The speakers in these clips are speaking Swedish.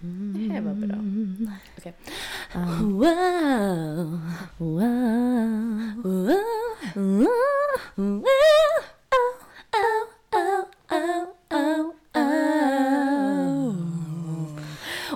Det här var bra. Mm. Okej. Wow, wow, wow, wow, wow,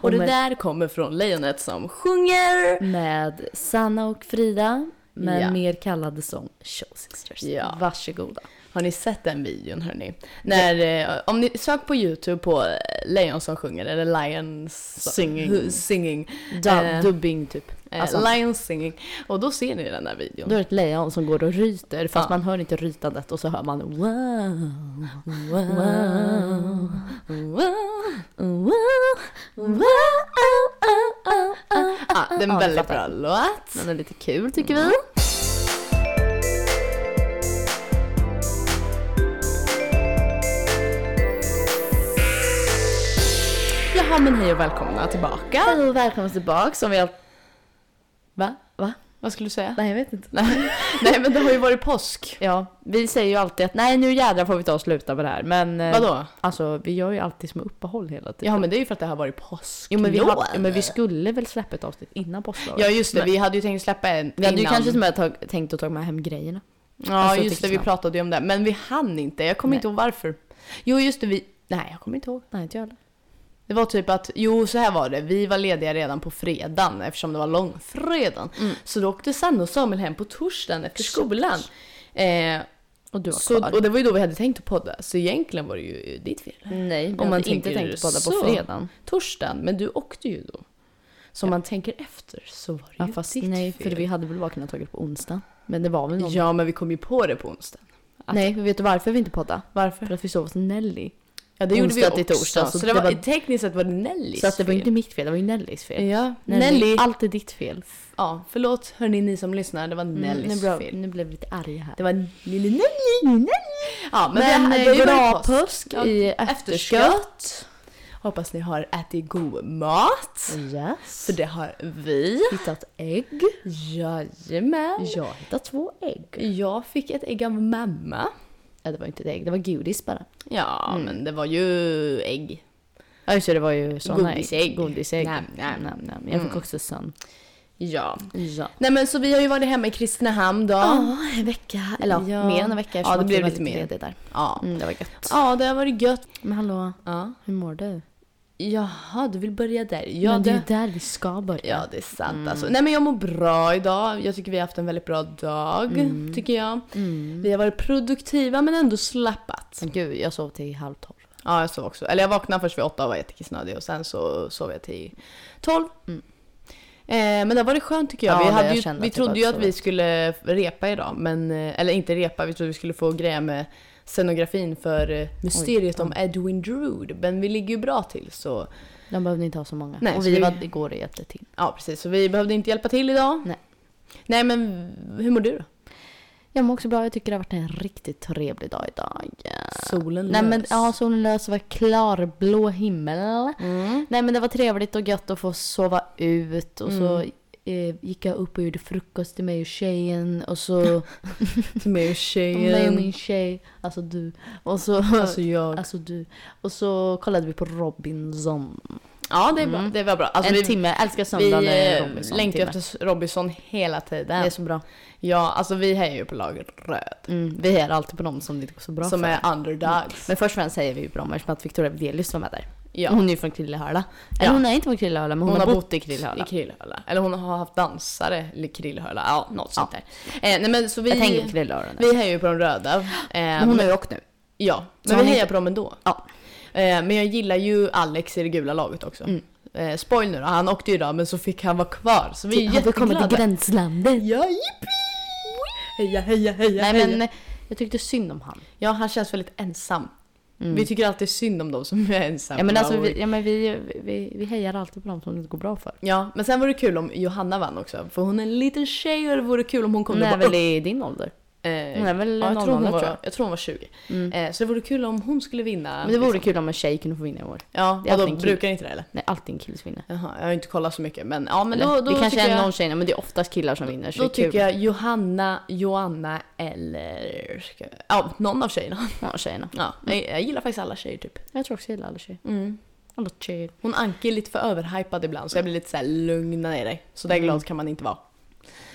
Och det där kommer från lejonet som sjunger. Med Sanna och Frida, men Ja. mer kallade som Show Sisters. Ja. Varsågoda. Har ni sett den videon hörni? När, eh, om ni sök på YouTube på eh, Lejon som sjunger eller Lions Singing. hu- singing. Da, Eh, Dubbing typ. eh, Alltså- Lions singing. Och då ser ni den där videon. Då är det ett lejon som går och ryter fast Ja. man hör inte rytandet och så hör man wow, wow, wow, wow, wow, wow. Ah, det är en Ja, ni väldigt bra fattar. låt. Den är lite kul tycker vi. Jaha men hej och välkomna tillbaka. Hej och välkomna tillbaka som vi har... Va? Va? Vad skulle du säga? Nej jag vet inte. Nej men det har ju varit påsk. Ja, vi säger ju alltid att nej nu jädrar får vi ta och sluta med det här men... eh, Vadå? Alltså vi gör ju alltid små uppehåll hela tiden. Ja men det är ju för att det har varit påsk. Jo men vi, hade, jo, men vi skulle väl släppa ett avsnitt innan påsklovet? Ja just det, vi hade ju tänkt släppa en vi hade ju innan. kanske till och med tag- tänkt att ta med hem grejerna. Ja Alltså, just det, vi texterna. pratade ju om det. Men vi hann inte, jag kommer Nej. inte ihåg varför. Jo just det, vi... Nej jag kommer inte ihåg. Nej inte jag heller. Det var typ att, jo så här var det, vi var lediga redan på fredagen eftersom det var långfredagen. Mm. Så då åkte Sanna och Samuel hem på torsdagen efter skolan. Eh, Och du var så, kvar. och det var ju då vi hade tänkt att podda, så egentligen var det ju ditt fel. Nej, Om om man man inte tänker tänkt på det på så. fredagen. Torsdagen, men du åkte ju då. Så om man tänker efter så var det ju ditt nej, fel. för vi hade väl bara kunnat tagit det på onsdag. Men det var väl någon... Ja men vi kom ju på det på onsdagen. att- Nej, för vet du alltså- varför vi inte poddade? För Varför? att vi sov hos Nelly. Ja det gjorde vi Onsdag också. till torsdag, så, det var, tekniskt sett var det Nellys Så att det var fel. inte mitt fel, det var ju Nellys fel. Ja, Nelly, Nelly. allt är ditt fel. Mm, Ja, förlåt hörni ni som lyssnar, det var nu, Nellys blev, fel. nu blev vi lite arga här. Det var lille Nelly. Ja, men, Men, det, eh, det är ju bra bara påsk i efterskott. Hoppas ni har ätit god mat. Yes. För det har vi. Hittat ägg. Jajamän. Jag har hittat två ägg. Jag fick ett ägg av mamma. Ja, det var inte ett ägg, det var godis bara. Ja, Mm. men det var ju ägg. Ja just det, det var ju såna Godisägg. Godisägg. Nam, nam. nam, nam. Jag fick också sån. Ja. Ja. Nej men så vi har ju varit hemma i Kristinehamn då. Ja, en vecka. Eller ja. Ja. mer än en Ja, vecka. eftersom det att blev vi var lite mer. lediga Där. Ja. Mm, det var gött. ja, det har varit gött. Men hallå, Ja. hur mår du? Jaha, du vill börja där. Ja, Men det är det... ju Mm. där vi ska börja. Ja, det är sant alltså. Nej men jag mår bra idag. Jag tycker vi har haft en väldigt bra dag, Mm. tycker jag. Vi har varit produktiva men ändå slappat. Men Gud, jag sov till halv tolv. Ja, jag sov också. Eller jag vaknade först vid åtta och var jättekissnödig och sen så sov jag till tolv. Mm. Eh, men det har varit skönt tycker jag. Ja, vi det- hade jag ju, kände vi att det trodde var ju att så vi rätt. skulle repa idag, men, eh, eller inte repa, vi trodde vi skulle få grejer med scenografin för eh, mysteriet om Edwin Drood. Men vi ligger ju bra till så De behövde inte ha så många. Nej, och så vi vi- var igår och hjälpte till. Ja precis, så vi behövde inte hjälpa till idag. Nej. Nej men hur mår du då? Jag mår också bra. Jag tycker det har varit en riktigt trevlig dag idag. Solen Nej men ja, solen lös var klarblå himmel. Mm. Nej men det var trevligt och gött att få sova ut och så eh, gick jag upp och gjorde frukost till mig och tjejen och så med mig och tjejen. min tjej, alltså du. Och så Alltså jag. Alltså du. Och så kollade vi på Robinson. Ja det, är bra. det var bra. Alltså, Mm. en vi timme. Jag älskar vi söndagen när eh, Robinson längtar ju timme. efter Robinson hela tiden. Det är så bra. Ja, alltså vi hejar ju på laget Röd. Mm, vi är alltid på dem som det går så bra Som för. är underdogs. Men först och främst säger vi ju bra om eftersom att Victoria Videlius var med där. Ja. Hon är ju från Krillehöla. Eller Ja. hon är inte från Krillehöla men hon, har bott i Krillehöla. I Krillhöla. Eller hon har haft dansare i Krillhöla. Ja, något sånt där. Eh, nej men så Jag tänker vi, Krillehöla nu. vi hejar ju på de röda. Eh, Men hon har ju åkt nu. Ja, Så men vi han hejar inte- på dem ändå. Ja. Eh, men jag gillar ju Alex i det gula laget också. Mm. Eh, spoil nu då, han åkte ju idag men så fick han vara kvar. Så vi är Typ, Har vi kommit jätteglada. till gränslandet? Ja, jippi! Heja, heja, heja, Nej heja. men jag tyckte synd om han. Ja, han känns väldigt ensam. Mm. Vi tycker alltid synd om de som är ensamma. Ja men alltså och- vi, ja, men vi, vi, vi hejar alltid på dem som det går bra för. Ja, men sen var det kul om Johanna vann också. För hon är en liten tjej och det vore kul om hon kom Hon är och bara, väl i din ålder? "Åh!" eh, Hon är väl ja, jag, tror hon 00, tror var, jag. jag tror hon var 20. Mm. Eh, så det vore kul om hon skulle vinna. Men det vore liksom. kul om en tjej kunde få vinna i år. Ja, Det och är alltid då en kille. brukar inte det eller? Nej, alltid en kille som vinner. Jaha, jag har inte kollat så mycket men ja men Eller, då, då det kanske tycker är jag... någon tjej, men det är oftast killar som vinner. Så Då det är tycker kul. jag Johanna, Joanna eller... ska- Ja, någon av tjejerna. Ja, tjejerna. Ja, jag, jag gillar faktiskt alla tjejer typ. Jag tror också jag gillar alla tjejer. Alla chill. Hon Anki är lite för överhypad ibland så jag blir lite så här lugna ner dig. Så Mm. där glad kan man inte vara.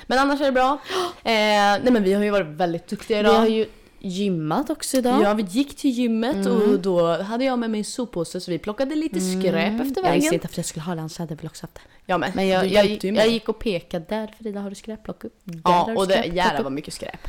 Men annars är det bra. Eh, nej men vi har ju varit väldigt duktiga Vi idag. har ju gymmat också idag. Mm. Ja, vi gick till gymmet och då hade jag med mig en soppåse så vi plockade lite skräp efter Jag vägen. visste inte varför jag skulle ha den så hade jag väl också haft den. Ja, men, Men jag, du jag, hjälpte ju mig. jag gick och pekade där Frida har du skräp? Plocka upp. Där har Ja, du och det skräp, plocka jävlar upp. vad mycket skräp.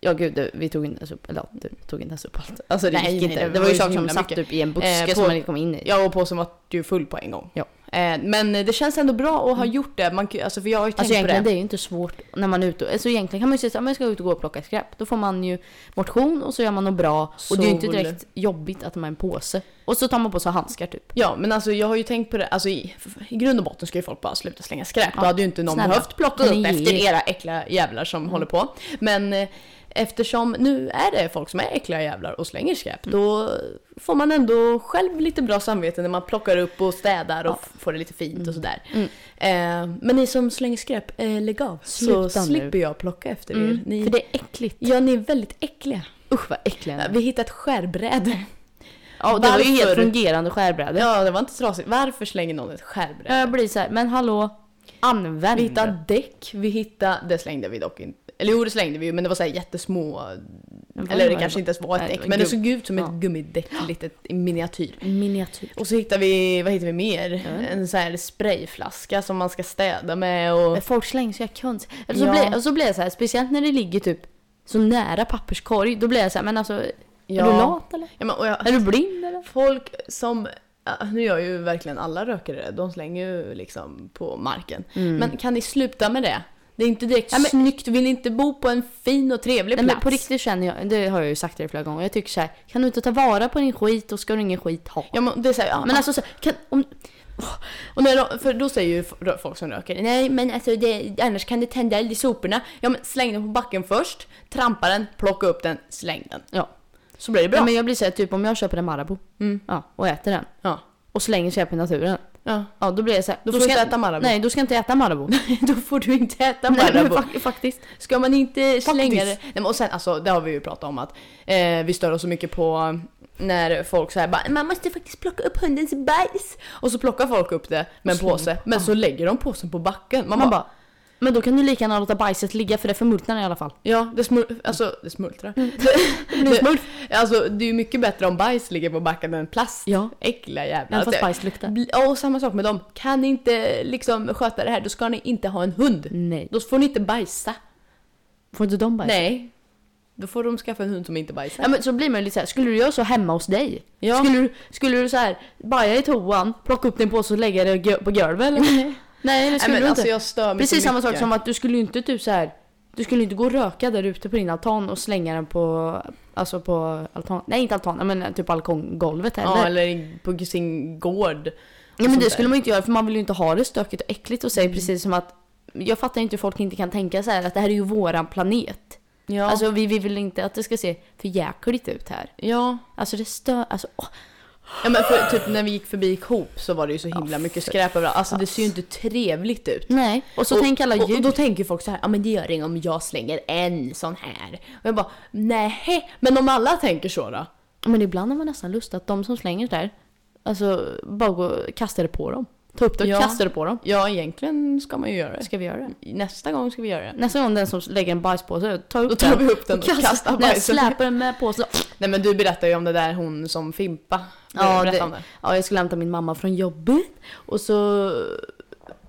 Ja gud, det, vi tog inte ens upp, eller ja, du tog inte ens upp allt. Alltså det Nej, gick nej, inte. Det var ju saker som himla satt mycket. typ i en buske Eh, på- som man inte kom in i. Ja, och påsen var ju full på en gång. Ja. Mm. Eh, men det känns ändå bra att ha gjort det. Man, kan- alltså, för jag har ju Alltså tänkt på det. egentligen det är ju inte svårt när man är ute. Alltså egentligen kan man ju säga att man ska ut och gå och plocka skräp. Då får man ju motion och så gör man något bra. Och det är ju inte Sol. direkt jobbigt att man har en påse. Och så tar man på sig handskar typ. Ja, men alltså jag har ju tänkt på det. Alltså, i, I grund och botten ska ju folk bara sluta slänga skräp. Ja, Då hade ju inte någon snälla. behövt plocka upp Nej. efter era äckliga jävlar som håller på. Men eh, eftersom nu är det folk som är äckliga jävlar och slänger skräp, Mm. då får man ändå själv lite bra samvete när man plockar upp och städar och f- får det lite fint Mm. och sådär. Eh, men ni som slänger skräp, eh, lägg av. Sluta så nu. Mm, slipper jag plocka efter er. Ni, För det är äckligt. Ja, ni är väldigt äckliga. Usch vad äckliga Vi hittade ett skärbräde. Ja, och det var ju helt Varför? fungerande skärbräde. Ja, det var inte trasigt. Varför slänger någon ett skärbräde? Jag blir så här, men hallå, använd. Vi hittade däck, vi hittade... Det slängde vi dock inte. Eller jo, det slängde vi ju, men det var så här jättesmå... Vad eller det var kanske inte ens var ett Nej, det däck, var men det gub- såg ut som Ja. ett gummidäck, litet i miniatyr. Miniatyr. Och så hittade vi, vad hittade vi mer? vet En så här sprayflaska som man ska städa med och... Folk slänger så jag kan Eller så, Ja. blir, och så blir jag så här, speciellt när det ligger typ så nära papperskorg. Då blir jag så här, men alltså, Ja. är du lat eller? Ja, men, och jag, Är du blind eller? folk som... ja, Nu gör ju verkligen alla rökare det, de slänger ju liksom på marken. Men kan ni sluta med det? Det är inte direkt Ja, Mm. men- snyggt, vill ni inte bo på en fin och trevlig Nej, plats? men på riktigt känner jag, det har jag ju sagt till dig flera gånger, jag tycker så här, kan du inte ta vara på din skit då ska du ingen skit ha. Ja, men det är så här, ja, Men alltså, så, kan, om, Och när de, för då säger ju f- folk som röker nej men alltså det, annars kan det tända eld i soporna. Ja men släng den på backen först, trampa den, plocka upp den, släng den. ja. Så blir det bra. Mm. ja men jag blir så här, typ om jag köper en Marabou ja, och äter den ja. och slänger sig upp i naturen. ja. Ja då blir jag så här, Då får du ska inte jag- äta Marabou. Nej då ska jag inte äta Marabou. då får du inte äta Nej, men Marabou. fak- faktiskt. Ska man inte slänga det? Faktiskt. Nej, men och sen, alltså, det har vi ju pratat om att eh, vi stör oss så mycket på mm, när folk säger bara man måste faktiskt plocka upp hundens bajs. Och så plockar folk upp det med en slänger. påse. Men så lägger de påsen på backen. Man, Man bara, bara, men då kan du lika gärna låta bajset ligga för det förmultnar i alla fall. Ja, det, smul alltså, det smultrar. Mm. Det, blir smulf. Alltså, det är ju mycket bättre om bajs ligger på backen än plast. Ja. Äckliga jävlar. Även fast Det- bajs luktar. Bli- Ja, och samma sak med dem. Kan ni inte liksom sköta det här, då ska ni inte ha en hund. Nej. Då får ni inte bajsa. Får inte de bajs? Nej. Då får de skaffa en hund som inte bajsar. Ja, men så blir man ju lite så här, skulle du göra så hemma hos dig? Ja. Skulle, du, skulle du så här, baja i toan, plocka upp din påse och lägga den gö- på golvet eller? Nej, Nej det Nej, skulle men du alltså, inte. jag stör mig Precis så samma mycket. sak som att du skulle ju inte typ så här, du skulle inte gå och röka där ute på din altan och slänga den på, alltså på altan, nej inte altan, men typ balkonggolvet heller. Ja, eller i- på sin gård. Ja men sånt det där. Mm. skulle man ju inte göra för man vill ju inte ha det stökigt och äckligt och sig precis som att jag fattar inte hur folk inte kan tänka så här att det här är ju våran planet. Ja. Alltså vi, vi vill inte att det ska se för jäkligt ut här. ja. Alltså det stör, alltså åh. Ja men för, typ när vi gick förbi Coop så var det ju så himla mycket skräp överallt. Alltså det ser ju inte trevligt ut. Nej. Och så tänk alla och, djur. och då tänker folk så här, ja men det gör inget om jag slänger en sån här. Och jag bara, nej, men om alla tänker så då? Men ibland har man nästan lust att de som slänger där, alltså bara gå och kasta det på dem. Ta upp det och Ja. kasta det på dem. Ja, egentligen ska man ju göra det. Ska vi göra det? Nästa gång ska vi göra det. Nästa gång den som lägger en bajspåse, ta upp Mm. Då tar vi upp den och kastar Nej, bajsen. släpar den med påsen. Nej men du berättade ju om det där hon som Fimpa. Ja, Berätta det- om det. Ja, jag skulle hämta min mamma från jobbet och så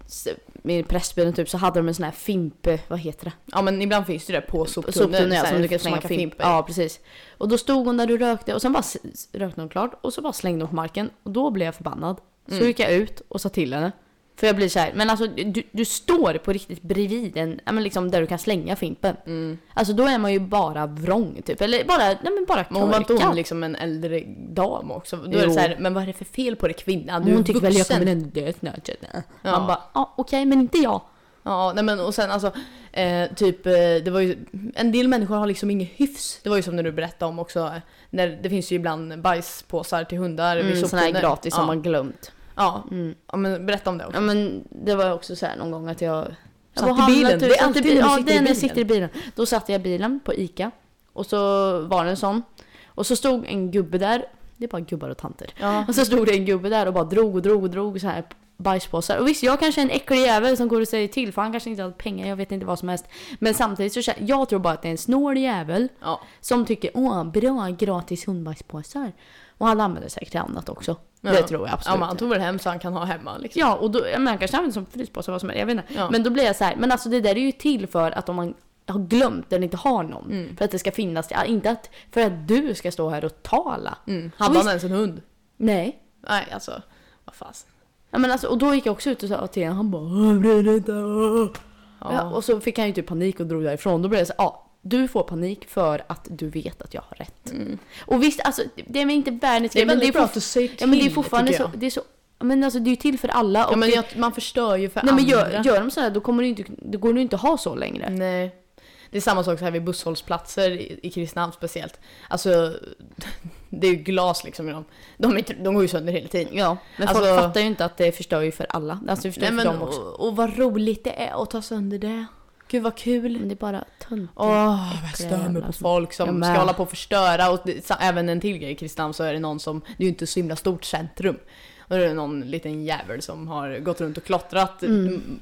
så- med pressbyrån typ så hade de en sån här fimpe, vad heter det? ja men ibland finns det ju det på soptunneln. Soptunnel så här, som du kan slänga smaka fimp. fimpar i. Ja precis. Och då stod hon där du rökte och sen bara s- s- rökte hon klart och så bara slängde hon på marken och då blev jag förbannad. Så Mm. gick jag ut och sa till henne. För jag blir så här, men alltså du, du står på riktigt bredvid en, ja men liksom där du kan slänga fimpen. Mm. Alltså då är man ju bara vrång typ, eller bara, nej men bara Men hon var inte hon korkad. liksom en äldre dam också? Då är det Jo. så här, men vad är det för fel på det kvinna? liksom- Du är Hon tycker väl jag vuxen. kommer ändå dö snart. Ja. Man bara, ja okej men inte jag. Ja, nej men och sen alltså, eh, typ, eh, det var ju, en del människor har liksom ingen hyfs. Det var ju som när du berättade om också, eh, när det finns ju ibland bajspåsar till hundar vid Mm, sådana här soptunnor. gratis ja. som man glömt. Mm. Ja. ja, men berätta om det också. Ja men det var också så här någon gång att jag... jag Satt var i handlat bilen. ut- Det är satt i alltid bil- när du Ja sitter i det är när bilen. jag sitter i bilen. Då satt jag i bilen på ICA och så var det en sån. Och så stod en gubbe där det är bara gubbar och tanter. Ja. Och så stod det en gubbe där och bara drog och drog och drog så här bajspåsar. Och visst, jag kanske är en äcklig jävel som går och säger till för han kanske inte har pengar, jag vet inte vad som helst. Men samtidigt så känner jag tror bara att det är en snål jävel Ja. som tycker åh, bra gratis hundbajspåsar. Och han använder säkert till annat också. Det tror jag absolut. Ja, men han tog väl hem så han kan ha hemma liksom. Ja, och då, men han kanske använder som fryspåse vad som helst, jag vet inte. Ja. Men då blir jag så här, men alltså det där är ju till för att om man har glömt eller inte har någon. Mm. För att det ska finnas, ja, inte att, för att du ska stå här och tala. Mm. Och Hade han visst- ens en hund? Nej. Nej, alltså. Vad fasen. Ja, men alltså, och då gick jag också ut och sa till honom, han bara "Åh, blir det inte, åh." Ja. ja. Och så fick han ju typ panik och drog därifrån. Då blev det så här, ja. Du får panik för att du vet att jag har rätt. Och visst, alltså, det är väl inte världens Mm. Det är grej, men väldigt bra fortfar- att du säger till, Ja, men det är fortfarande tycker så, jag. det är så... ja, Men alltså, det är ju till för alla. Ja, och men det- jag, man förstör ju för Nej men andra. gör, gör de sådär då kommer du inte, då går du inte ha så längre. Nej. Det är samma sak så här vid busshållplatser i, i Kristinehamn speciellt. Alltså, det är ju glas liksom i dem. De, är, inte- de går ju sönder hela tiden. Ja, men Alltså- folk fattar ju inte att det förstör ju för alla. Alltså det förstör Nej, ju för men, dem också. och, och vad roligt det är att ta sönder det. Gud vad kul. Men det är bara töntigt. Åh, vad Alltså, jag stör mig jävla på som- folk Jag som med. ska hålla på och förstöra. Och det, sa- även en till grej i Kristinehamn så är det någon som, det är ju inte så himla stort centrum. Och det är någon liten jävel som har gått runt och klottrat. Mm,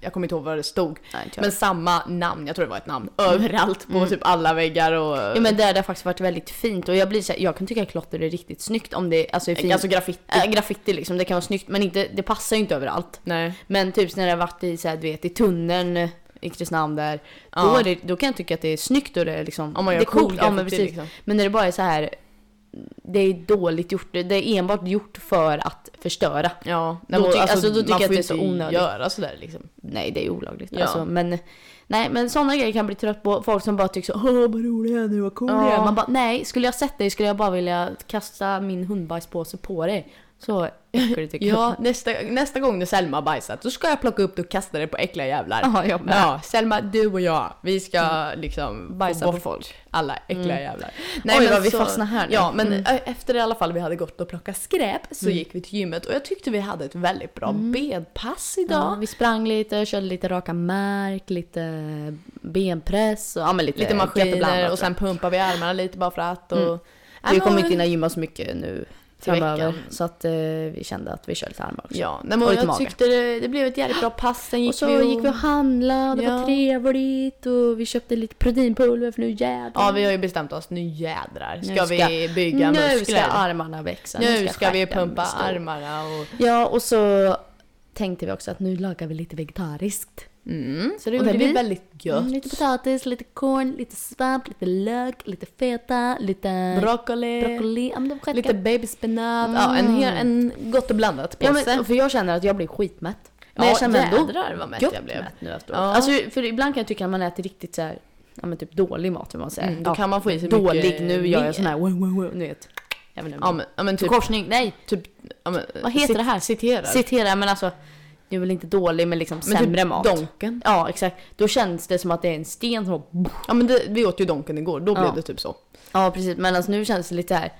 Jag kommer inte ihåg vad det stod. Nej, inte jag. Men samma namn, jag tror det var ett namn, överallt på typ alla väggar och... ja, men där det har faktiskt varit väldigt fint och jag blir så här, jag kan tycka att klotter är riktigt snyggt om det alltså, är fint. Alltså graffiti. äh, graffiti liksom, det kan vara snyggt men inte, det passar ju inte överallt. Nej. Men typ när det har varit i så här, du vet i tunneln eh, i Kristinehamn där, då, Ja. är det, då kan jag tycka att det är snyggt och det är liksom, Om man det gör är cool Ja, men graffiti, precis. liksom. Men när det bara är så här det är dåligt gjort, det är enbart gjort för att förstöra. Ja. Då men tyck- alltså, då tycker man jag att får det är så inte onödigt. göra sådär liksom. Nej, det är olagligt. Ja. Alltså, men, nej, men sådana grejer kan jag bli trött på. Folk som bara tycker så Åh, vad rolig jag är nu, vad cool Ja. jag är. Man bara, nej, skulle jag sett dig skulle jag bara vilja kasta min hundbajspåse på dig. Så äcklig tycker jag. Ja, nästa, nästa gång när Selma har bajsat, då ska jag plocka upp det och kasta det på äckliga jävlar. Ja, jag med. Ja, Selma, du och jag, vi ska liksom Bajsa få på bort folk. Mm. alla äckliga jävlar. Oj, men vad vi fastnar här nu. Mm. Ja, men ö- efter det i alla fall vi hade gått och plockat skräp så gick vi till gymmet och jag tyckte vi hade ett väldigt bra bedpass Mm. Ja, idag. vi sprang lite, körde lite raka märk, lite benpress och ja, men lite, Lite maskiner jätteblandat. och sen pumpade vi armarna lite bara för att. Och, Ja, Vi men- Mm. kommer inte hinna gymma så mycket nu Till framöver. veckan. Så att eh, vi kände att vi kör lite armar också. Ja, nej, men Och lite jag mage. tyckte det, det blev ett jävligt bra pass. Sen gick Och så vi och, gick vi och handlade och det Ja. var trevligt och vi köpte lite proteinpulver för nu jävlar. Ja, vi har ju bestämt oss. Nu jädrar ska, Nu ska- vi bygga nu ska muskler. armarna växa. nu ska vi stjärten pumpa bli stor. armarna och... Ja, och så tänkte vi också att nu lagar vi lite vegetariskt. Mm. Så det Och det gjorde vi blir- väldigt gött. Mm, lite potatis, lite korn, lite svamp, lite lök, lite feta, lite broccoli, broccoli. Ja, men det var lite skitgott. babyspenat. Ja, en, hel, en gott och blandat ja, påse. men, För jag känner att jag blir skitmätt. Ja, jag känner jädrar vad mätt jag gött blev. Mätt nu efteråt. Ja. Alltså, för ibland kan jag tycka att man äter riktigt så här, ja, men typ dålig mat. Vill man säga. Mm, då ja. kan man få i sig dålig, mycket nu gör mer. jag sån här, wow, wow, wow, ni vet. Jag vet inte. Ja, men, ja, men typ, Korsning, nej! typ ja, men, Vad heter cit- det här? Citerar. Citera, men alltså, det är väl inte dålig men liksom men sämre typ mat. Donken. Ja, exakt. Då känns det som att det är en sten som bara- Ja, men det, vi åt ju donken igår, då Ja. blev det typ så. Ja, precis. Men alltså nu känns det lite här...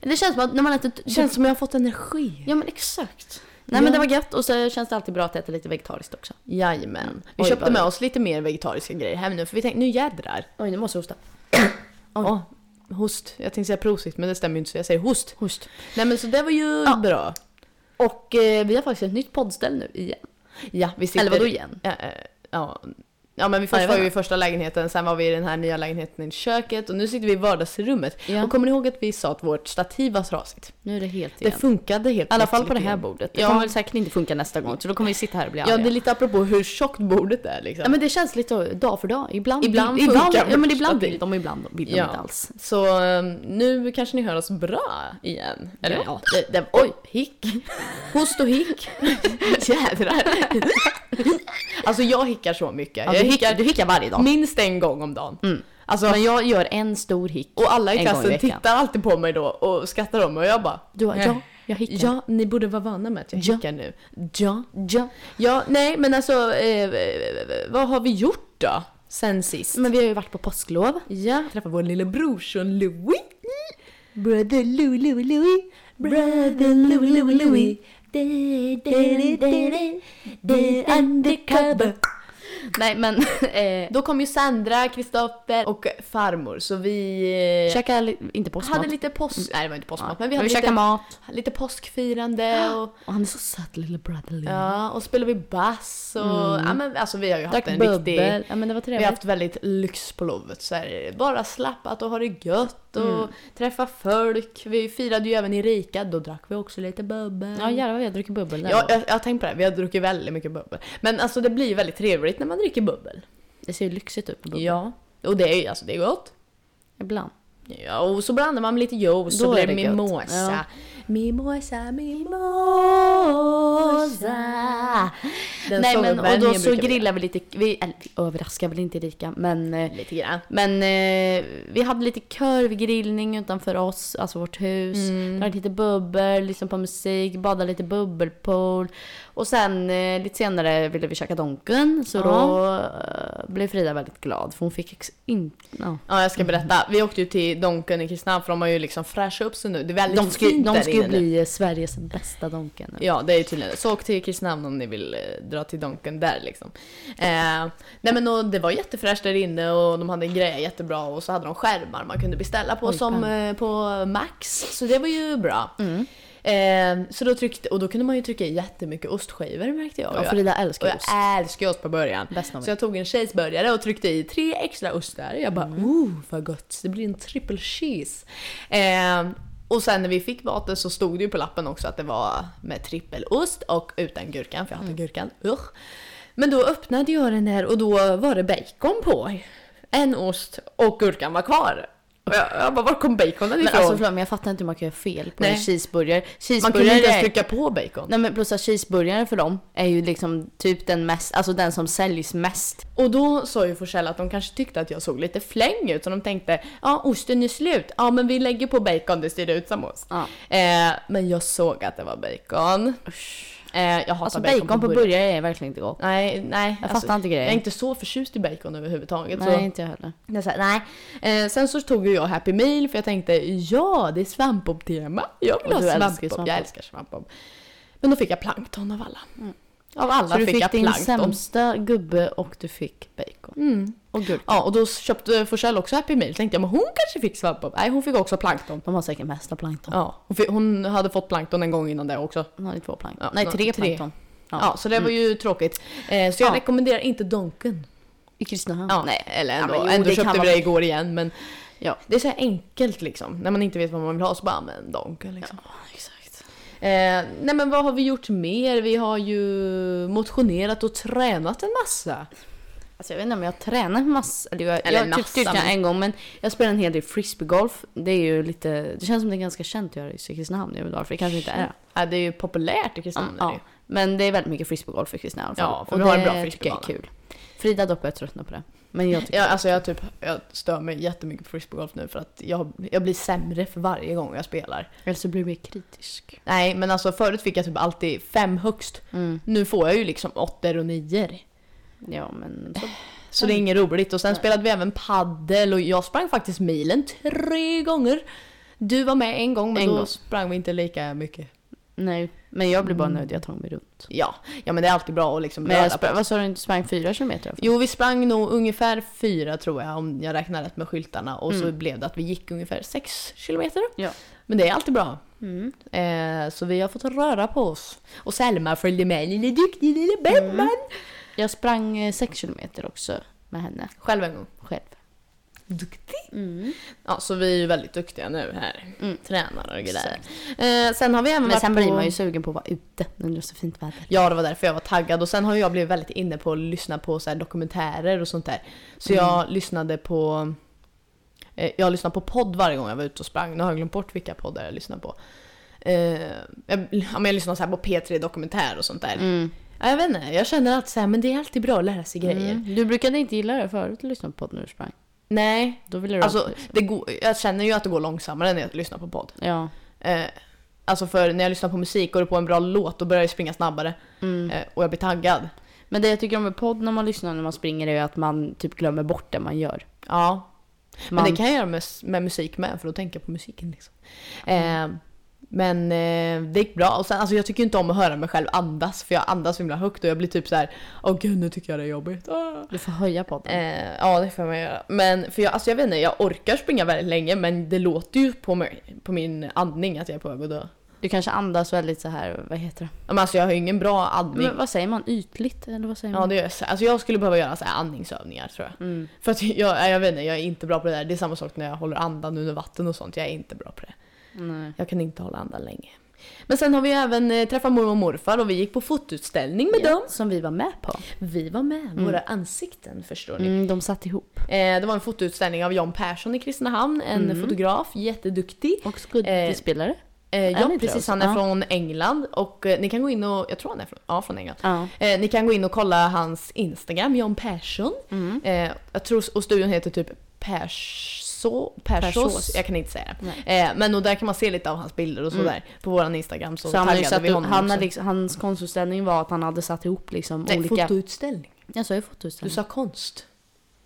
Det känns som att när man äter... Känns som jag har fått energi. Ja, men exakt. Nej, Ja. men det var gött och så känns det alltid bra att äta lite vegetariskt också. Jajamän. Vi Oj, köpte vad- med oss lite mer vegetariska grejer hem nu för vi tänkte nu jädrar. Oj, nu måste jag hosta. Oj. Åh, host. Jag tänkte säga prosit men det stämmer ju inte så jag säger host. Host. Nej men så det var ju Ja. bra. Och eh, vi har faktiskt ett nytt poddställ nu igen. Ja, vi sitter... Eller vadå igen? Ja, eh, ja. ja men vi Ja, först jag var vet ju i inte. första lägenheten, sen var vi i den här nya lägenheten i köket och nu sitter vi i vardagsrummet. Ja. Och kommer ni ihåg att vi sa att vårt stativ var trasigt? Nu är det helt Det igen. funkade helt I alla plötsligt fall på det här igen. bordet. Det Ja. kommer väl säkert inte funka nästa gång så då kommer vi sitta här och bli Ja, arga. det är lite apropå hur tjockt bordet är liksom. Ja, men det känns lite så, dag för dag. Ibland, Ibland ibland, funkar ja, men vårt ibland stativ. vill de, ibland vill de Ja. inte alls. Så eh, nu kanske ni hör oss bra igen. Eller Ja. ja, det, det, oj, hick. Host och hick. Jädrar. alltså jag hickar så mycket. Ja, jag du, hickar hickar, du hickar varje dag. minst en gång om dagen. Alltså, Men jag gör en stor hick. och alla i en gång i klassen veckan. tittar alltid på mig då och skrattar om mig och jag bara Du bara, ja, jag hickar. Ja, ni borde vara vana med att jag Ja. hickar nu. ja, ja. Ja, nej men alltså, eh, vad har vi gjort då? Sen sist? Men vi har ju varit på påsklov. Ja. Träffa vår lille brorson Louis. Brother Louie, Louie, Louie. Brother Louie, Louie, Louie. The undercover. Nej men, eh, Då kom ju Sandra, Kristoffer och farmor så vi eh, käka li- inte påskmat. hade lite påsk... Nej det var inte påskmat Ja. men vi hade käkade lite, mat. lite påskfirande och, Och han är så söt lille Bradley. ja, och spelade vi bass och ja, men, alltså vi har ju haft Mm. Drack en bubbel. riktig Ja men det var trevligt. Vi har haft väldigt lyx på lovet. Så här, bara slappat och ha det gött och Mm. träffa folk. Vi firade ju även Erika, då drack vi också lite bubbel. Ja jävlar vad vi har druckit bubbel där. jag, jag, jag har tänkt på det, här. vi har druckit väldigt mycket bubbel. Men alltså det blir ju väldigt trevligt när man dricker bubbel. Det ser ju lyxigt ut på bubbel. Ja. Och det är ju alltså, det är gott. Ibland. Ja, och så blandar man med lite juice så Då blir är det det gött. mimosa. Ja. Mimosa, mimosa. Den Nej sången men och då Vänjer så brukar vi- grillade vi lite, vi, eller, vi överraskar väl inte Erika men eh, Lite grann. Men eh, vi hade lite kurvgrillning utanför oss, alltså vårt hus. Mm. Drack lite bubbel, lyssnade på musik, badade lite bubbelpool. Och sen eh, lite senare ville vi käka Donken, så Ja. då eh, blev Frida väldigt glad för hon fick ex- in, ja. Ja, jag ska berätta. Vi åkte ju till Donken i Kristinehamn för de har ju liksom fräschat upp sig nu. Det är väldigt De ska, ju- fint de där ska ju inne nu. bli eh, Sveriges bästa Donken. nu. Ja, det är ju tydligen det. Så åk till Kristinehamn om ni vill eh, dra till Donken där liksom. Eh, nej men och det var jättefräscht där inne och de hade grejer jättebra och så hade de skärmar man kunde beställa på Oj, som eh, på Max. Så det var ju bra. Mm. Eh, så då tryckte, och då kunde man ju trycka i jättemycket ostskivor märkte jag. Ja, Och jag- Frida och älskar jag ost. älskar ost på början. Bäst av Så jag tog en cheeseburgare och tryckte i tre extra ostar. Jag bara Mm. oh vad gott, det blir en triple cheese. Eh, och sen när vi fick maten så stod det ju på lappen också att det var med trippelost och utan gurkan, för jag hatar Mm. gurkan. Usch. Men då öppnade jag den där och då var det bacon på. En ost och gurkan var kvar. Och jag, jag bara, var kom baconen Men ifrån? alltså förlåt men jag fattar inte hur man kan göra fel på en Nej. cheeseburger. man kunde inte Cheeseburgare ens är- trycka på bacon. Nej men plus att cheeseburgaren för dem är ju liksom typ den mest, alltså den som säljs mest. Och då sa ju Forsell att de kanske tyckte att jag såg lite fläng ut, så de tänkte ja osten är slut, ja men vi lägger på bacon, det ser ut som ost. Ja. Eh, men jag såg att det var bacon. Eh, jag hatar Alltså bacon, på burgare. är verkligen inte gott. Nej, nej. alltså, Jag fattar inte grejen. Jag är inte så förtjust i bacon överhuvudtaget. Nej, så. inte jag heller. Jag sa, nej. Eh, sen så tog ju jag Happy Meal för jag tänkte ja, det är svampbob-tema. Jag vill Och ha du älskar ju svampbob. Jag svampbob. älskar svampbob. Men då fick jag plankton av alla. Av alla Så du fick fick jag din plankton. sämsta gubbe och du fick bacon. Och gurka. Mm. Ja, och då köpte Forsell också Happy Meal. Tänkte jag, men hon kanske fick svampbob. Nej, hon fick också plankton. De har säkert mesta plankton. Ja, hon, fick, hon hade fått plankton en gång innan det också. De har ju två plankton. Ja, Nej, ja, tre. tre, plankton. Ja. Mm. Ja, så det var ju tråkigt. Eh, så jag Ja. rekommenderar inte Donken. I Kristinehamn. Ja, nej, eller ändå. Ja, men jo, ändå det köpte kan vi vara- det igår igen, men Ja. det är så här enkelt liksom. När man inte vet vad man vill ha så bara, men Donken liksom. exakt. Eh, nej men vad har vi gjort mer? Vi har ju motionerat och tränat en massa. Alltså jag vet inte om jag tränar massa. Eller jag, Eller jag typ massa, styrka men- en gång men jag spelar en hel del frisbeegolf. Det är ju lite, det känns som det är ganska känt att göra i Kristinehamn nu idag för det kanske inte är. Mm, Ja, det är ju populärt i Kristinehamn. är det Ja, ju. men det är väldigt mycket frisbeegolf i Kristinehamn i alla fall. Ja, för vi har en bra det tycker jag är frisbeebana. kul. Frida dock börjar tröttna på det. Men jag tycker Ja, alltså jag, typ, jag stör mig jättemycket på frisbeegolf nu för att jag, jag blir sämre för varje gång jag spelar. Eller så blir du mer kritisk. Nej, men alltså förut fick jag typ alltid fem högst. Mm. Nu får jag ju liksom åttor och nior. Ja men så Så det är inget roligt. Och sen spelade vi även paddel och jag sprang faktiskt milen tre gånger. Du var med en gång men En då gång. sprang vi inte lika mycket. Nej, men jag blir bara nöjd. Jag tar mig runt. Ja, ja men det är alltid Mm. bra att liksom Men jag röra på sprang, vad sa du, du sprang fyra kilometer? Jo, vi sprang nog ungefär fyra tror jag om jag räknar rätt med skyltarna. Och så blev det att vi gick ungefär sex kilometer. Ja. Men det är alltid bra. Mm. Eh, så vi har fått röra på oss. Och Selma följde med, lille duktig Mm. lille Benman. Jag sprang eh, sex kilometer också med henne Själv en gång. själv. Duktig. Ja, så vi är ju väldigt duktiga nu här. Tränare och grejer. Mm. Exakt. Eh, sen har vi även Men varit sen blir på... man ju sugen på att vara ute när det är så fint väder. Ja, det var därför jag var taggad. Och sen har jag blivit väldigt inne på att lyssna på så här dokumentärer och sånt där. Så Mm. jag lyssnade på... Eh, jag lyssnade på podd varje gång jag var ute och sprang. Nu har jag glömt bort vilka poddar jag lyssnar på. Eh, jag, ja, men jag lyssnar så här på P3 Dokumentär och sånt där. Mm. Ja, jag vet inte, jag känner alltid så här, men det är alltid bra att lära sig grejer. Mm. Du brukade inte gilla det förut att lyssna på podd när du sprang. Nej, Då ville du alltså alltid- det går, jag känner ju att det går långsammare när jag lyssnar på podd. Ja. Eh, alltså för när jag lyssnar på musik och det är på en bra låt då börjar jag springa snabbare. mm. Eh, och jag blir taggad. Men det jag tycker om med podd när man lyssnar när man springer är ju att man typ glömmer bort det man gör. Ja. Man- Men det kan jag göra med, med musik med, för då tänker jag på musiken. Liksom. Eh, Men eh, det gick bra. Och sen, alltså, jag tycker ju inte om att höra mig själv andas för jag andas så himla högt och jag blir typ så här. åh gud nu tycker jag det är jobbigt. Ah. Du får höja podden. Eh, ja det får man göra. Men för jag, alltså, jag vet inte, jag orkar springa väldigt länge men det låter ju på, mig, på min andning att jag är på väg att dö. Du kanske andas väldigt så här, vad heter det? Ja, Men alltså jag har ju ingen bra andning. Men vad säger man? Ytligt? Eller vad säger Ja man? det gör jag. så- Alltså, jag skulle behöva göra så här andningsövningar tror jag. Mm. För att jag, jag vet inte, jag är inte bra på det där. Det är samma sak när jag håller andan under vatten och sånt. Jag är inte bra på det. Nej. Jag kan inte hålla andan länge. Men sen har vi ju även eh, träffat mormor och morfar och vi gick på fotoutställning med dem. Som vi var med på. Vi var med, våra ansikten förstår ni. Mm, Mm. de satt ihop. Eh, det var en fotoutställning av Jan Persson i Kristinehamn, en fotograf, jätteduktig. Och skådespelare. Eh, han ja inte precis, det? han är Ja. från England och eh, ni kan gå in och, jag tror han är från, ja, från England. Ja. Eh, ni kan gå in och kolla hans Instagram, Jan Persson. Mm. Eh, jag tror, och studion heter typ Perso, Persos, Persos. jag kan inte säga det. Eh, men och där kan man se lite av hans bilder och sådär. På våran Instagram så, Mm. Så han har ju taggade satt vi ihop, honom han också. har liksom, hans konstutställning var att han hade satt ihop liksom Nej, olika... fotoutställning. Jag sa ju Du fotoutställning. sa konst.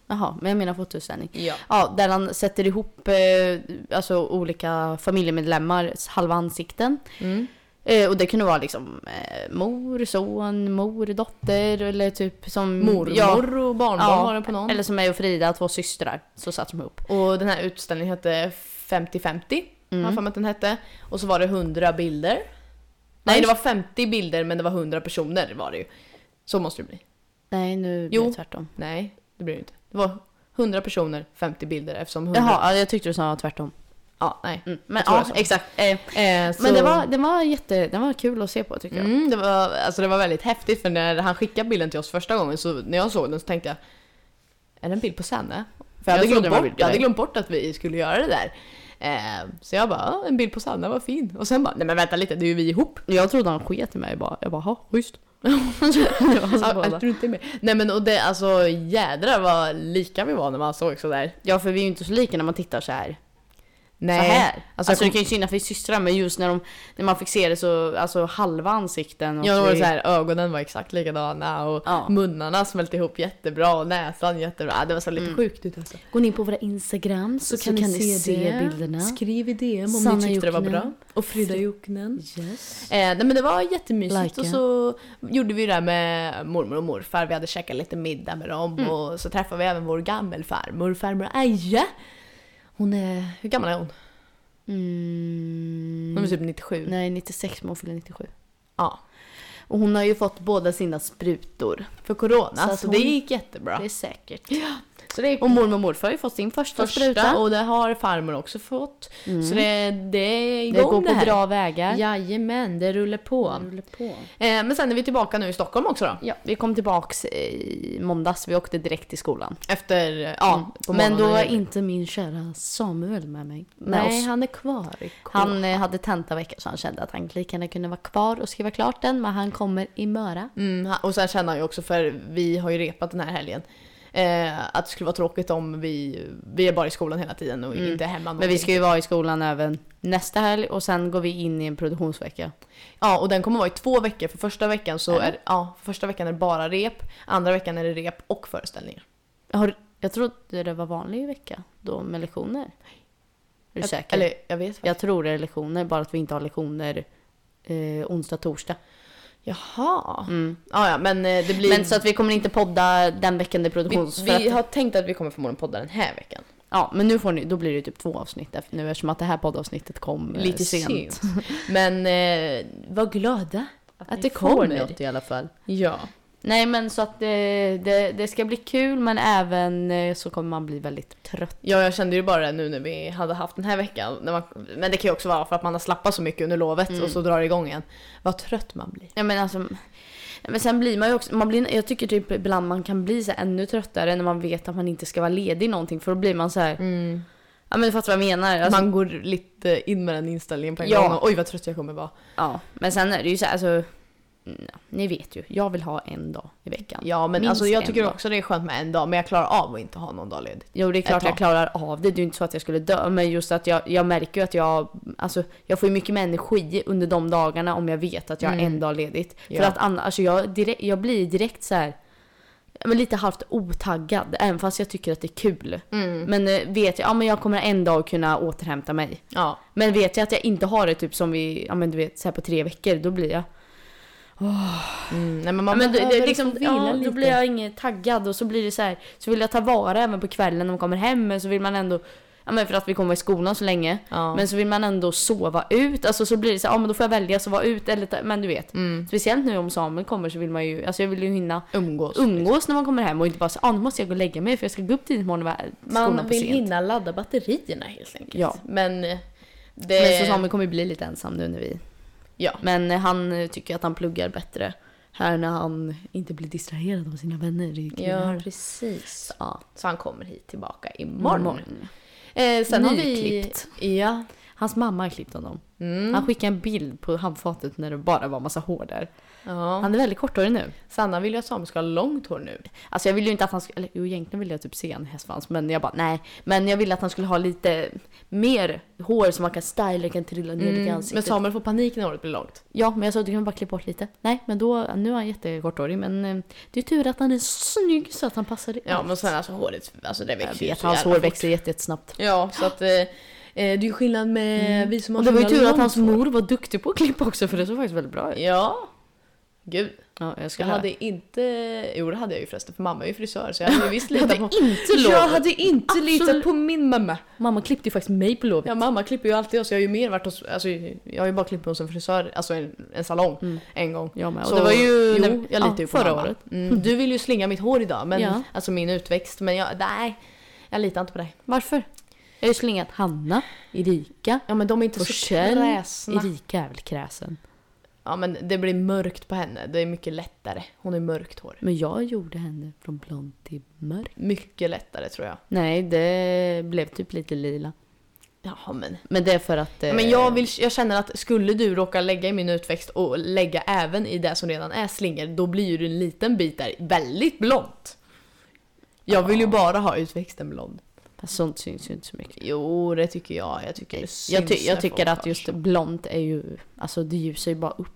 Jaha, men jag menar fotoutställning. Ja. Ja, där han sätter ihop eh, alltså olika familjemedlemmars halva ansikten. Mm. Eh, och det kunde vara liksom eh, mor, son, mor, dotter eller typ som... Mormor Ja, och barnbarn Ja. var det på någon. eller som mig och Frida, två systrar. Så satt de ihop. Och den här utställningen hette 50-50. Mm. Har jag för mig att den hette. Och så var det 100 bilder. Nej, det var 50 bilder men det var 100 personer var det ju. Så måste det bli. Nej, nu Jo. blir det tvärtom. Nej, det blir det inte. Det var 100 personer, 50 bilder eftersom 100... Jaha, ja, jag tyckte du sa tvärtom. Ja, nej. Mm, men Jag tror ja, jag sa. exakt. Eh, Eh, så... Men det var, det var jätte, det var kul att se på tycker jag. Mm, det, var, alltså det var väldigt häftigt för när han skickade bilden till oss första gången så när jag såg den så tänkte jag Är det en bild på Sanne? För jag hade, Jag trodde glömt det var bort, en bild på jag hade dig. glömt bort att vi skulle göra det där. Eh, så jag bara, "Ja, en bild på Sanna, vad fin. Och sen bara, nej men vänta lite, det är ju vi ihop. Jag trodde han sket i mig bara. Jag bara, ha, schysst. Ja, jag tror inte med. Nej men och det, alltså jädrar vad lika vi var när man såg sådär. Ja, för vi är ju inte så lika när man tittar så här. Nej. Så här. Alltså, Alltså, det jag kan ju synas för systrar, men just när, de, när man fick se det så, alltså halva ansikten. och Ja, då var det vi- så här, ögonen var exakt likadana och Ja. munnarna smälte ihop jättebra och näsan jättebra. Ja, Det var så här Mm. lite sjukt ut alltså. Gå in på våra Instagram så, kan, ni se, det. bilderna. Skriv i DM om Sanna ni tyckte det var Jokinen. bra. Och Frida Jokinen. Yes. Eh, nej men det var jättemysigt Like och it. så gjorde vi det här med mormor och morfar. Vi hade käkat lite middag med dem Mm. och så träffade vi även vår gammelfarmor, farmor Aja. Hon är, hur gammal är hon? Mm. Hon är typ 97. Nej, 96, men hon fyller 97. Ja. Och hon har ju fått båda sina sprutor. För corona, Så så, att det hon- gick jättebra. Det är säkert. Så det gick Och mormor och morfar har ju fått sin första, första spruta. Mm. och det har farmor också fått. Så det, det är igång det går på Mm. här. bra vägar. Jajamän, det rullar på. Eh, men sen är vi tillbaka nu i Stockholm också då. Ja, vi kom tillbaks i måndags. Vi åkte direkt till skolan. Efter, eh, ja, på Mm. Men då morgonen var igen. inte min kära Samuel med mig. Med Nej, oss. han är kvar i Han, han... eh, hade tentavecka så han kände att han lika gärna kunde vara kvar och skriva klart den. Men han kommer i Möra. Mm, han- Och sen känner han ju också, för vi har ju repat den här helgen, eh, att det skulle vara tråkigt om vi, vi är bara i skolan hela tiden och inte är hemma. Mm. Men vi någonting. ska ju vara i skolan även nästa helg och sen går vi in i en produktionsvecka. Ja, och den kommer vara i två veckor. För första veckan så Är det? är, ja, för första veckan är det bara rep, andra veckan är det rep och föreställningar. Jag, har, jag trodde det var vanlig vecka då med lektioner. Är du säker? Eller jag vet faktiskt. jag tror det är lektioner, bara att vi inte har lektioner eh, onsdag, torsdag. Mm. Jaha. Ja, ja, men eh, det blir... Men så att vi kommer inte podda den veckan det är produktions... för vi, vi att- har tänkt att vi kommer förmodligen podda den här veckan. Ja, men nu får ni, då blir det ju typ två avsnitt efter nu eftersom att det här poddavsnittet kom eh, Lite sent. Men eh, var glada att, det kommer. i alla fall. Ja. Nej, men så att det, det, det ska bli kul men även eh, så kommer man bli väldigt trött. ja, jag kände ju bara det nu när vi hade haft den här veckan. När man, men det kan ju också vara för att man har slappat så mycket under lovet och så drar det igång igen. Vad trött man blir. Ja, men alltså, men sen blir man ju också, man blir, jag tycker typ ibland man kan bli så här ännu tröttare när man vet att man inte ska vara ledig någonting för då blir man så här. Ja men du fattar vad jag menar. Alltså, Mm. man går lite in med den inställningen på en Ja. gång och oj vad trött jag kommer vara. ja, men sen är det ju så här, alltså, mm, ni vet ju, jag vill ha en dag i veckan. Ja men Minst alltså jag en tycker dag. också det är skönt med en dag men jag klarar av att inte ha någon dag ledigt. Jo det är Ett klart tag. jag klarar av det, det är ju inte så att jag skulle dö. Men just att jag, jag märker ju att jag, alltså, jag får ju mycket mer energi under de dagarna om jag vet att jag har en dag ledigt. Mm. Ja. För att annars, alltså, jag, direkt, jag blir direkt så här. men lite halvt otaggad, även fast jag tycker att det är kul. Mm. Men eh, vet jag, ja men jag kommer en dag kunna återhämta mig. Ja. Men vet jag att jag inte har det typ som vi, ja men du vet så här på tre veckor, då blir jag... Mm. Nej, men man Ja, men det, behöver det, liksom, få vila ja, då lite. blir jag ingen taggad och så blir det så här, så vill jag ta vara även på kvällen när man kommer hem men så vill man ändå, ja men för att vi kommer vara i skolan så länge. Ja. Men så vill man ändå sova ut, alltså så blir det så här, ja men då får jag välja sova ut eller, ta- men du vet. Mm. Speciellt nu om Samuel kommer så vill man ju, alltså jag vill ju hinna Umgås. umgås när man kommer hem och inte bara så, ah, nu måste jag gå och lägga mig för jag ska gå upp tidigt imorgon och vara- skolan Man på vill sent. hinna ladda batterierna helt enkelt. Ja. Men eh, det... Men så Samuel kommer ju bli lite ensam nu när vi... Ja. Men eh, han eh, tycker att han pluggar bättre här när han inte blir distraherad av sina vänner i ja, kringar. precis. Ja, Så han kommer hit tillbaka imorgon. imorgon. Eh, sen har vi... Nyklippt. Ja. Hans mamma har klippt honom. Mm. Han skickade en bild på handfatet när det bara var massa hår där. ja. Han är väldigt korthårig nu. Sanna vill ju att Samuel ska ha långt hår nu. Alltså jag ville ju inte att han skulle, eller jo egentligen ville jag typ se en hästsvans men jag bara nej. Men jag ville att han skulle ha lite mer hår som man kan styla, kan trilla ner lite i Mm. Men ansiktet. Samuel får panik när håret blir långt. Ja, men jag sa du kan bara klippa bort lite. Nej, men då, nu är han jättekorthårig men eh, det är tur att han är snygg så att han passar i Ja, allt. men sen alltså håret, alltså det Jag växer ju vet, så hans jävla hår fort. växer jätte- jättesnabbt. Ja, så att eh, eh, det är ju skillnad med Eh, vi som har Mm. Och det var ju så himla tur att långt hans hår. mor var duktig på att klippa också för det såg faktiskt väldigt bra ut. Ja. Gud, Ja, jag jag skulle ha hade inte... Jo, det hade jag ju förresten, för mamma är ju frisör så jag hade ju visst Jag hade litat på... inte lov. Jag hade inte Absolut. litat på min mamma. Mamma klippte ju faktiskt mig på lovet. Ja, mamma klipper ju alltid oss. Jag har ju mer varit hos, alltså, jag har ju bara klippt hos en frisör, alltså en, en salong, Mm. en gång. Jag med. Och Så det var ju jo, när- jag litar ja, ju på förra mamma. året. Mm. Du vill ju slinga mitt hår idag, men, Ja. alltså min utväxt, men jag, nej, jag litar inte på dig. Varför? Jag har ju slingat Hanna, Erika, Ja men de är inte så Forsell, kräsna. Erika är väl kräsen. Ja men det blir mörkt på henne, det är mycket lättare. Hon är mörkt hår. Men jag gjorde henne från blond till mörk. Mycket lättare tror jag. Nej, det blev typ lite lila. Jaha men. Men det är för att... eh, Men jag, vill, jag känner att skulle du råka lägga i min utväxt och lägga även i det som redan är slingor, då blir ju det en liten bit där väldigt blont. Jag vill ju Ja. bara ha utväxten blond. Fast alltså, sånt syns ju inte så mycket. Jo, det tycker jag. Jag tycker det syns Jag, ty- jag när tycker folk att har just så. blont är ju... Alltså det ljusar ju bara upp.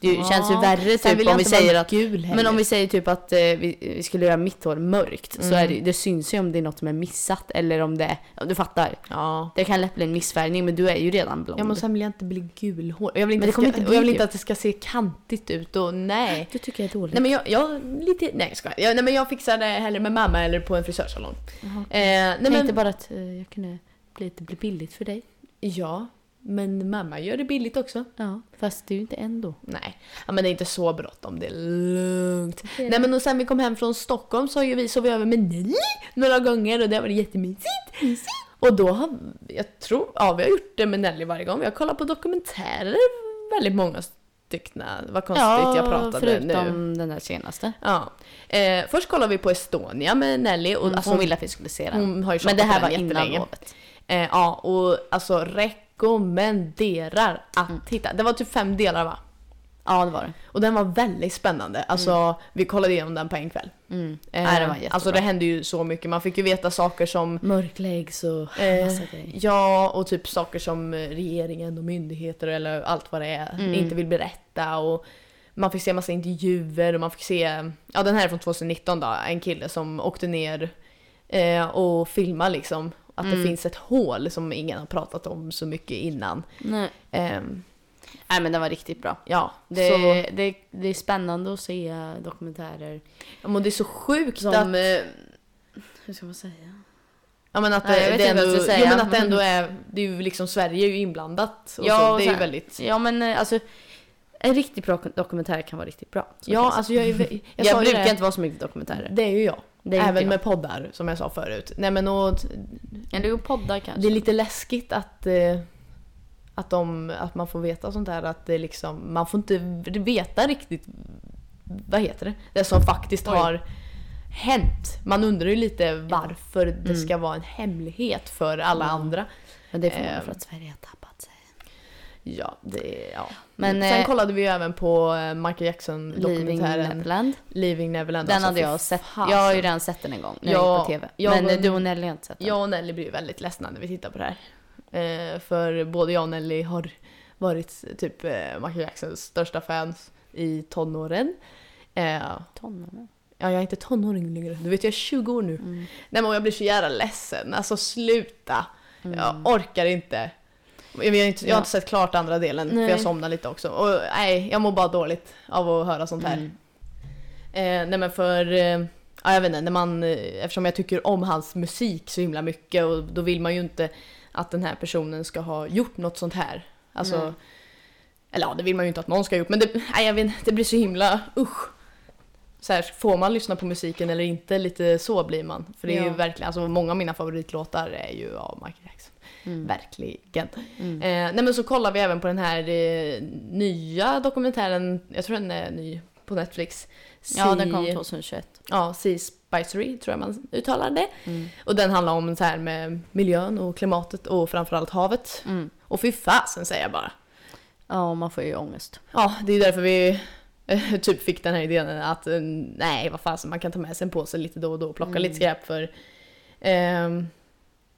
Det ju- Ja. känns ju värre Sen vill typ om jag vi inte vara säger att... gul heller. Men om vi säger typ att eh, vi, vi skulle göra mitt hår mörkt så Mm. är det, det syns ju om det är något som är missat eller om det är, ja, du fattar. Ja. Det kan lätt bli en missfärgning men du är ju redan blond. Ja men sen vill jag inte bli gulhårig. Jag vill inte, Men det kommer ska, inte och jag vill bli gul. Mm. inte att det ska se kantigt ut och nej. Du tycker jag är dålig. Nej men jag, jag lite, nej jag skojar. jag, nej men jag fixar det hellre med mamma eller på en frisörsalong. Jaha. Eh, nej jag men, tänkte bara att eh, jag kunde bli, det blir billigt för dig. ja, men mamma gör det billigt också. Ja, fast det är ju inte ändå. Nej, ja, men det är inte så bråttom, det är lugnt. Nej men och sen vi kom hem från Stockholm så har ju vi sovit över med Nelly några gånger och det har varit jättemysigt. Och då har, jag tror, ja vi har gjort det med Nelly varje gång. Vi har kollat på dokumentärer, väldigt många stycken. Vad konstigt jag pratade nu. förutom den där senaste. Ja. Eh, först kollade vi på Estonia med Nelly och Mm, alltså, hon ville att vi skulle se den. hon har ju men det tjatat här på var den innan jättelänge. lovet. Eh, ja, och alltså rekommenderar att Mm. titta. Det var typ fem delar va? Ja, det var det. Och den var väldigt spännande. Alltså vi kollade igenom den på en kväll. Mm. Eh, Nej, det var jättebra. alltså det hände ju så mycket. Man fick ju veta saker som Mörkläggs och Eh, massa grejer. Ja, och typ saker som eh, regeringen och myndigheter eller allt vad det är Mm. inte vill berätta. Och man fick se massa intervjuer och man fick se, ja den här är från 2019 då, en kille som åkte ner eh, och filmade liksom att det Mm. finns ett hål som ingen har pratat om så mycket innan. Nej. Ehm, Nej, men den var riktigt bra. ja, Det, så, det, det är spännande att se dokumentärer ja, men det är så sjukt som... att, eh, Hur ska man säga? ja, men att Nej, jag det, vet det inte vad ändå, jag ska säga. jo, men att det ändå är, det är ju liksom Sverige är ju inblandat och Ja, så, och det är ju så- väldigt Ja, men eh, alltså... En riktigt bra dokumentär kan vara riktigt bra. Så kan Ja, jag alltså jag, är, jag, säga. jag sa ju brukar det. inte vara så mycket dokumentärer. Det är ju jag. Det är inte Även jag. med poddar som jag sa förut. Nej, men och, Eller ju poddar kanske. det är lite läskigt att, eh, att, de, att man får veta sånt här att det liksom, man får inte veta riktigt vad heter det? Det som faktiskt Oj. har hänt. Man undrar ju lite varför det ska vara en hemlighet för alla Mm. andra. Men det är förmodligen Ehm. för att Sverige har tappat sig. Ja, det, ja. Men, Sen eh, kollade vi ju även på eh, Michael Living Jackson-dokumentären Neverland. Leaving Neverland. Den Alltså, hade fy jag sett. fasen. Jag har ju redan sett den en gång när jag Ja, gick på TV. jag men var- eh, du och Nelly har inte sett den. Jag och Nelly blir väldigt ledsna när vi tittar på det här. Eh, för både jag och Nelly har varit typ eh, Michael Jacksons största fans i tonåren. Eh, Tonåren. Ja, jag är inte tonåring längre. Du vet, jag är 20 år nu. Mm. Nej, men jag blir så jävla ledsen. Alltså sluta. Mm. Jag orkar inte. Jag, jag, har inte, jag har inte sett klart andra delen Nej. för jag somnade lite också. Och nej, jag mår bara dåligt av att höra sånt här. Mm. Eh, nej men för, eh, ja, jag vet inte, när man, eh, eftersom jag tycker om hans musik så himla mycket och då vill man ju inte att den här personen ska ha gjort något sånt här. Alltså, Nej. eller ja, det vill man ju inte att någon ska ha gjort men det, nej, jag vet inte, det blir så himla, usch. Så här, får man lyssna på musiken eller inte? Lite så blir man. För det är ju Ja. verkligen, alltså många av mina favoritlåtar är ju av Michael Jackson. Mm. Verkligen. Mm. Eh, nej men så kollar vi även på den här eh, nya dokumentären, jag tror den är ny på Netflix. Ja, den kom Sea- 2021. Ja, Sea Spicery tror jag man uttalar det. Mm. Och den handlar om så här med miljön och klimatet och framförallt havet. Mm. Och fy fasen säger jag bara. Ja, man får ju ångest. Ja, det är därför vi eh, typ fick den här idén att eh, nej, vad fasen, man kan ta med sig en påse lite då och då och plocka lite skräp för ehm,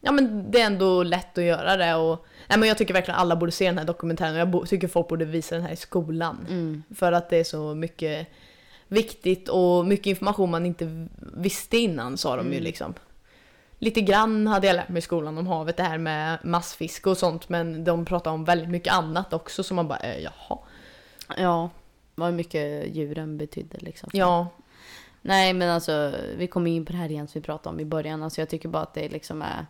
Ja men det är ändå lätt att göra det och nej, men jag tycker verkligen alla borde se den här dokumentären och jag bo- tycker folk borde visa den här i skolan. Mm. För att det är så mycket viktigt och mycket information man inte visste innan sa de ju liksom. Lite grann hade jag lärt mig i skolan om havet, det här med massfiske och sånt men de pratade om väldigt mycket annat också så man bara eh, jaha. Ja, vad mycket djuren betydde liksom. Ja, Nej, men alltså vi kommer in på det här igen som vi pratade om i början. Alltså jag tycker bara att det liksom är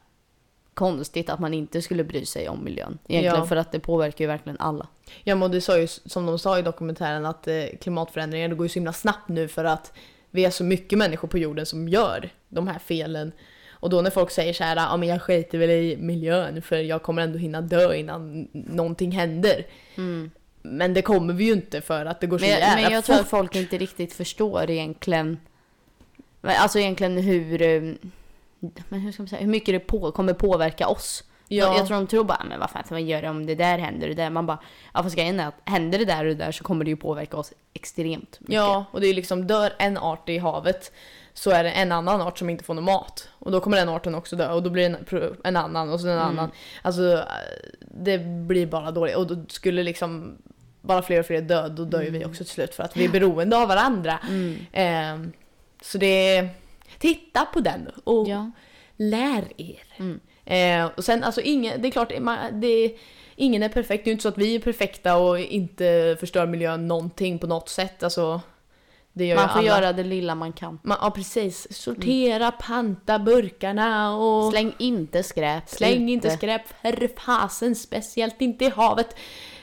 konstigt att man inte skulle bry sig om miljön. Egentligen Ja. för att det påverkar ju verkligen alla. ja men det sa ju som de sa i dokumentären att eh, klimatförändringar det går ju så himla snabbt nu för att vi är så mycket människor på jorden som gör de här felen. Och då när folk säger så här, ja men jag skiter väl i miljön för jag kommer ändå hinna dö innan någonting händer. Mm. Men det kommer vi ju inte för att det går så Men, jag- jävla men jag tror att fort. folk inte riktigt förstår egentligen. men Alltså egentligen hur... eh, Men hur ska man säga? Hur mycket det på, kommer påverka oss. Ja. Jag tror de tror bara, "Ah, men vad fan ska man göra om det där händer och det där? Man bara, ja fast grejen är att händer det där och det där så kommer det ju påverka oss extremt mycket. Ja, och det är ju liksom dör en art i havet så är det en annan art som inte får någon mat. Och då kommer den arten också dö och då blir det en, pro- en annan och så en annan. Alltså eh, det blir bara dåligt. Och då skulle liksom bara fler och fler dö, då dör ju vi också till slut för att vi är beroende av varandra. Mm. Ehm, så det är... Titta på den och Ja. lär er. Eh, och sen alltså ingen, det är klart, man, det, ingen är perfekt. Det är ju inte så att vi är perfekta och inte förstör miljön någonting på något sätt. Alltså, det gör Man ju får alla. göra Mm. det lilla man kan. Man, ja precis, sortera, panta burkarna och släng, Släng inte skräp. inte skräp för fasen, speciellt inte i havet.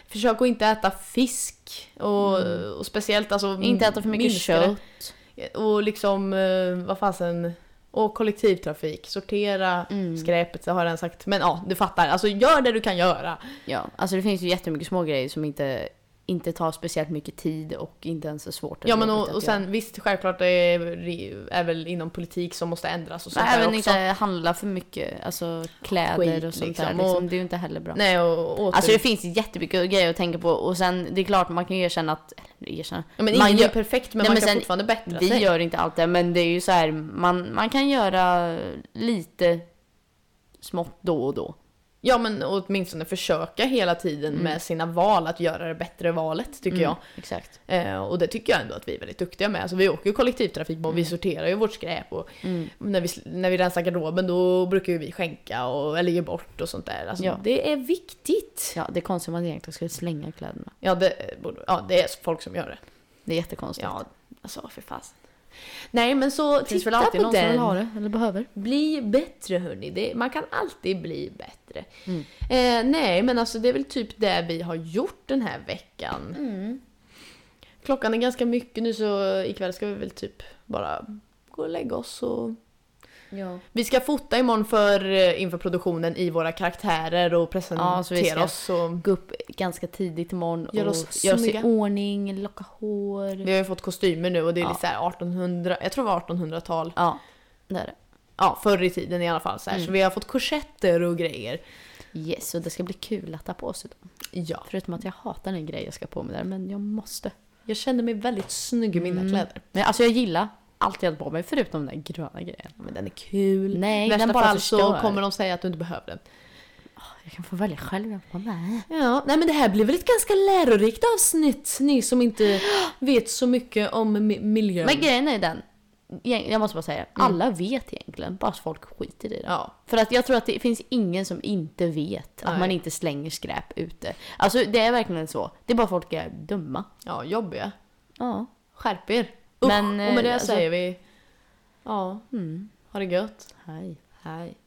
Försök att inte äta fisk och, och speciellt alltså Mm. Inte äta för mycket minska det. kött. Och liksom, eh, vad fasen, och kollektivtrafik, sortera Mm. skräpet, det har jag redan sagt. Men ja, du fattar. Alltså gör det du kan göra. Ja, alltså det finns ju jättemycket små grejer som inte, inte tar speciellt mycket tid och inte ens är svårt Ja men och, jobbigt att och göra. sen visst, självklart det är, är väl inom politik som måste ändras och sånt Men där även också. inte handla för mycket, alltså kläder Skit, och sånt där. liksom, Liksom, och- det är ju inte heller bra. Nej och typ- åter... Alltså det finns jättemycket grejer att tänka på och sen det är klart man kan ju erkänna att, eller erkänna, ja, men man ingen gör- är perfekt men Nej, man men kan sen- fortfarande bättra vi sig. gör inte allt det men det är ju så här, man, man kan göra lite smått då och då. Ja men åtminstone försöka hela tiden Mm. med sina val att göra det bättre valet tycker jag. Exakt. Eh, och det tycker jag ändå att vi är väldigt duktiga med. Alltså, vi åker ju kollektivtrafik och vi Mm. sorterar ju vårt skräp. Och när, vi, när vi rensar garderoben då brukar ju vi skänka och, eller ge bort och sånt där. Alltså, Ja. Det är viktigt. Ja, det är konstigt att man egentligen skulle slänga kläderna. Ja det, borde, ja, det är folk som gör det. Det är jättekonstigt. Ja, alltså för fasen. Nej men så det finns väl titta alltid på någon som vill ha den. det eller behöver. Bli bättre hörni. Det, man kan alltid bli bättre. Eh, nej men alltså det är väl typ det vi har gjort den här veckan. Mm, Klockan är ganska mycket nu så ikväll ska vi väl typ bara gå och lägga oss och... Ja. Vi ska fota imorgon för, eh, inför produktionen i våra karaktärer och presentera Ja, så vi ska- oss. Och... Gå upp ganska tidigt imorgon och Gör göra oss oss, gör oss i snygga. ordning, locka hår. Vi har ju fått kostymer nu och det är Ja. lite så här 1800, jag tror det var 1800-tal. Ja, det är det. Ja, förr i tiden i alla fall. Så, här. Mm. så vi har fått korsetter och grejer. Yes, och det ska bli kul att ta på sig dem. Ja, Förutom att jag hatar den grej jag ska på mig där, men jag måste. jag känner mig väldigt snygg i mina kläder. Men alltså jag gillar allt jag har på mig förutom den där gröna grejen. Men den är kul. Nej, I värsta den bara fall förstör. så kommer de säga att du inte behöver den. Jag kan få välja själv jag på mig. Ja, nej men det här blev väl ett ganska lärorikt avsnitt. Ni som inte vet så mycket om mi- miljön. Men grejen är den, egent- jag måste bara säga, alla vet egentligen. Bara att folk skiter i det. Ja. För att jag tror att det finns ingen som inte vet att Nej. man inte slänger skräp ute. Alltså det är verkligen så. Det är bara folk är dumma. Ja, jobbiga. Ja. Skärp er. Men, Men, och med det eh, alltså- säger vi... Ja, ha det gött. Hej. Hej.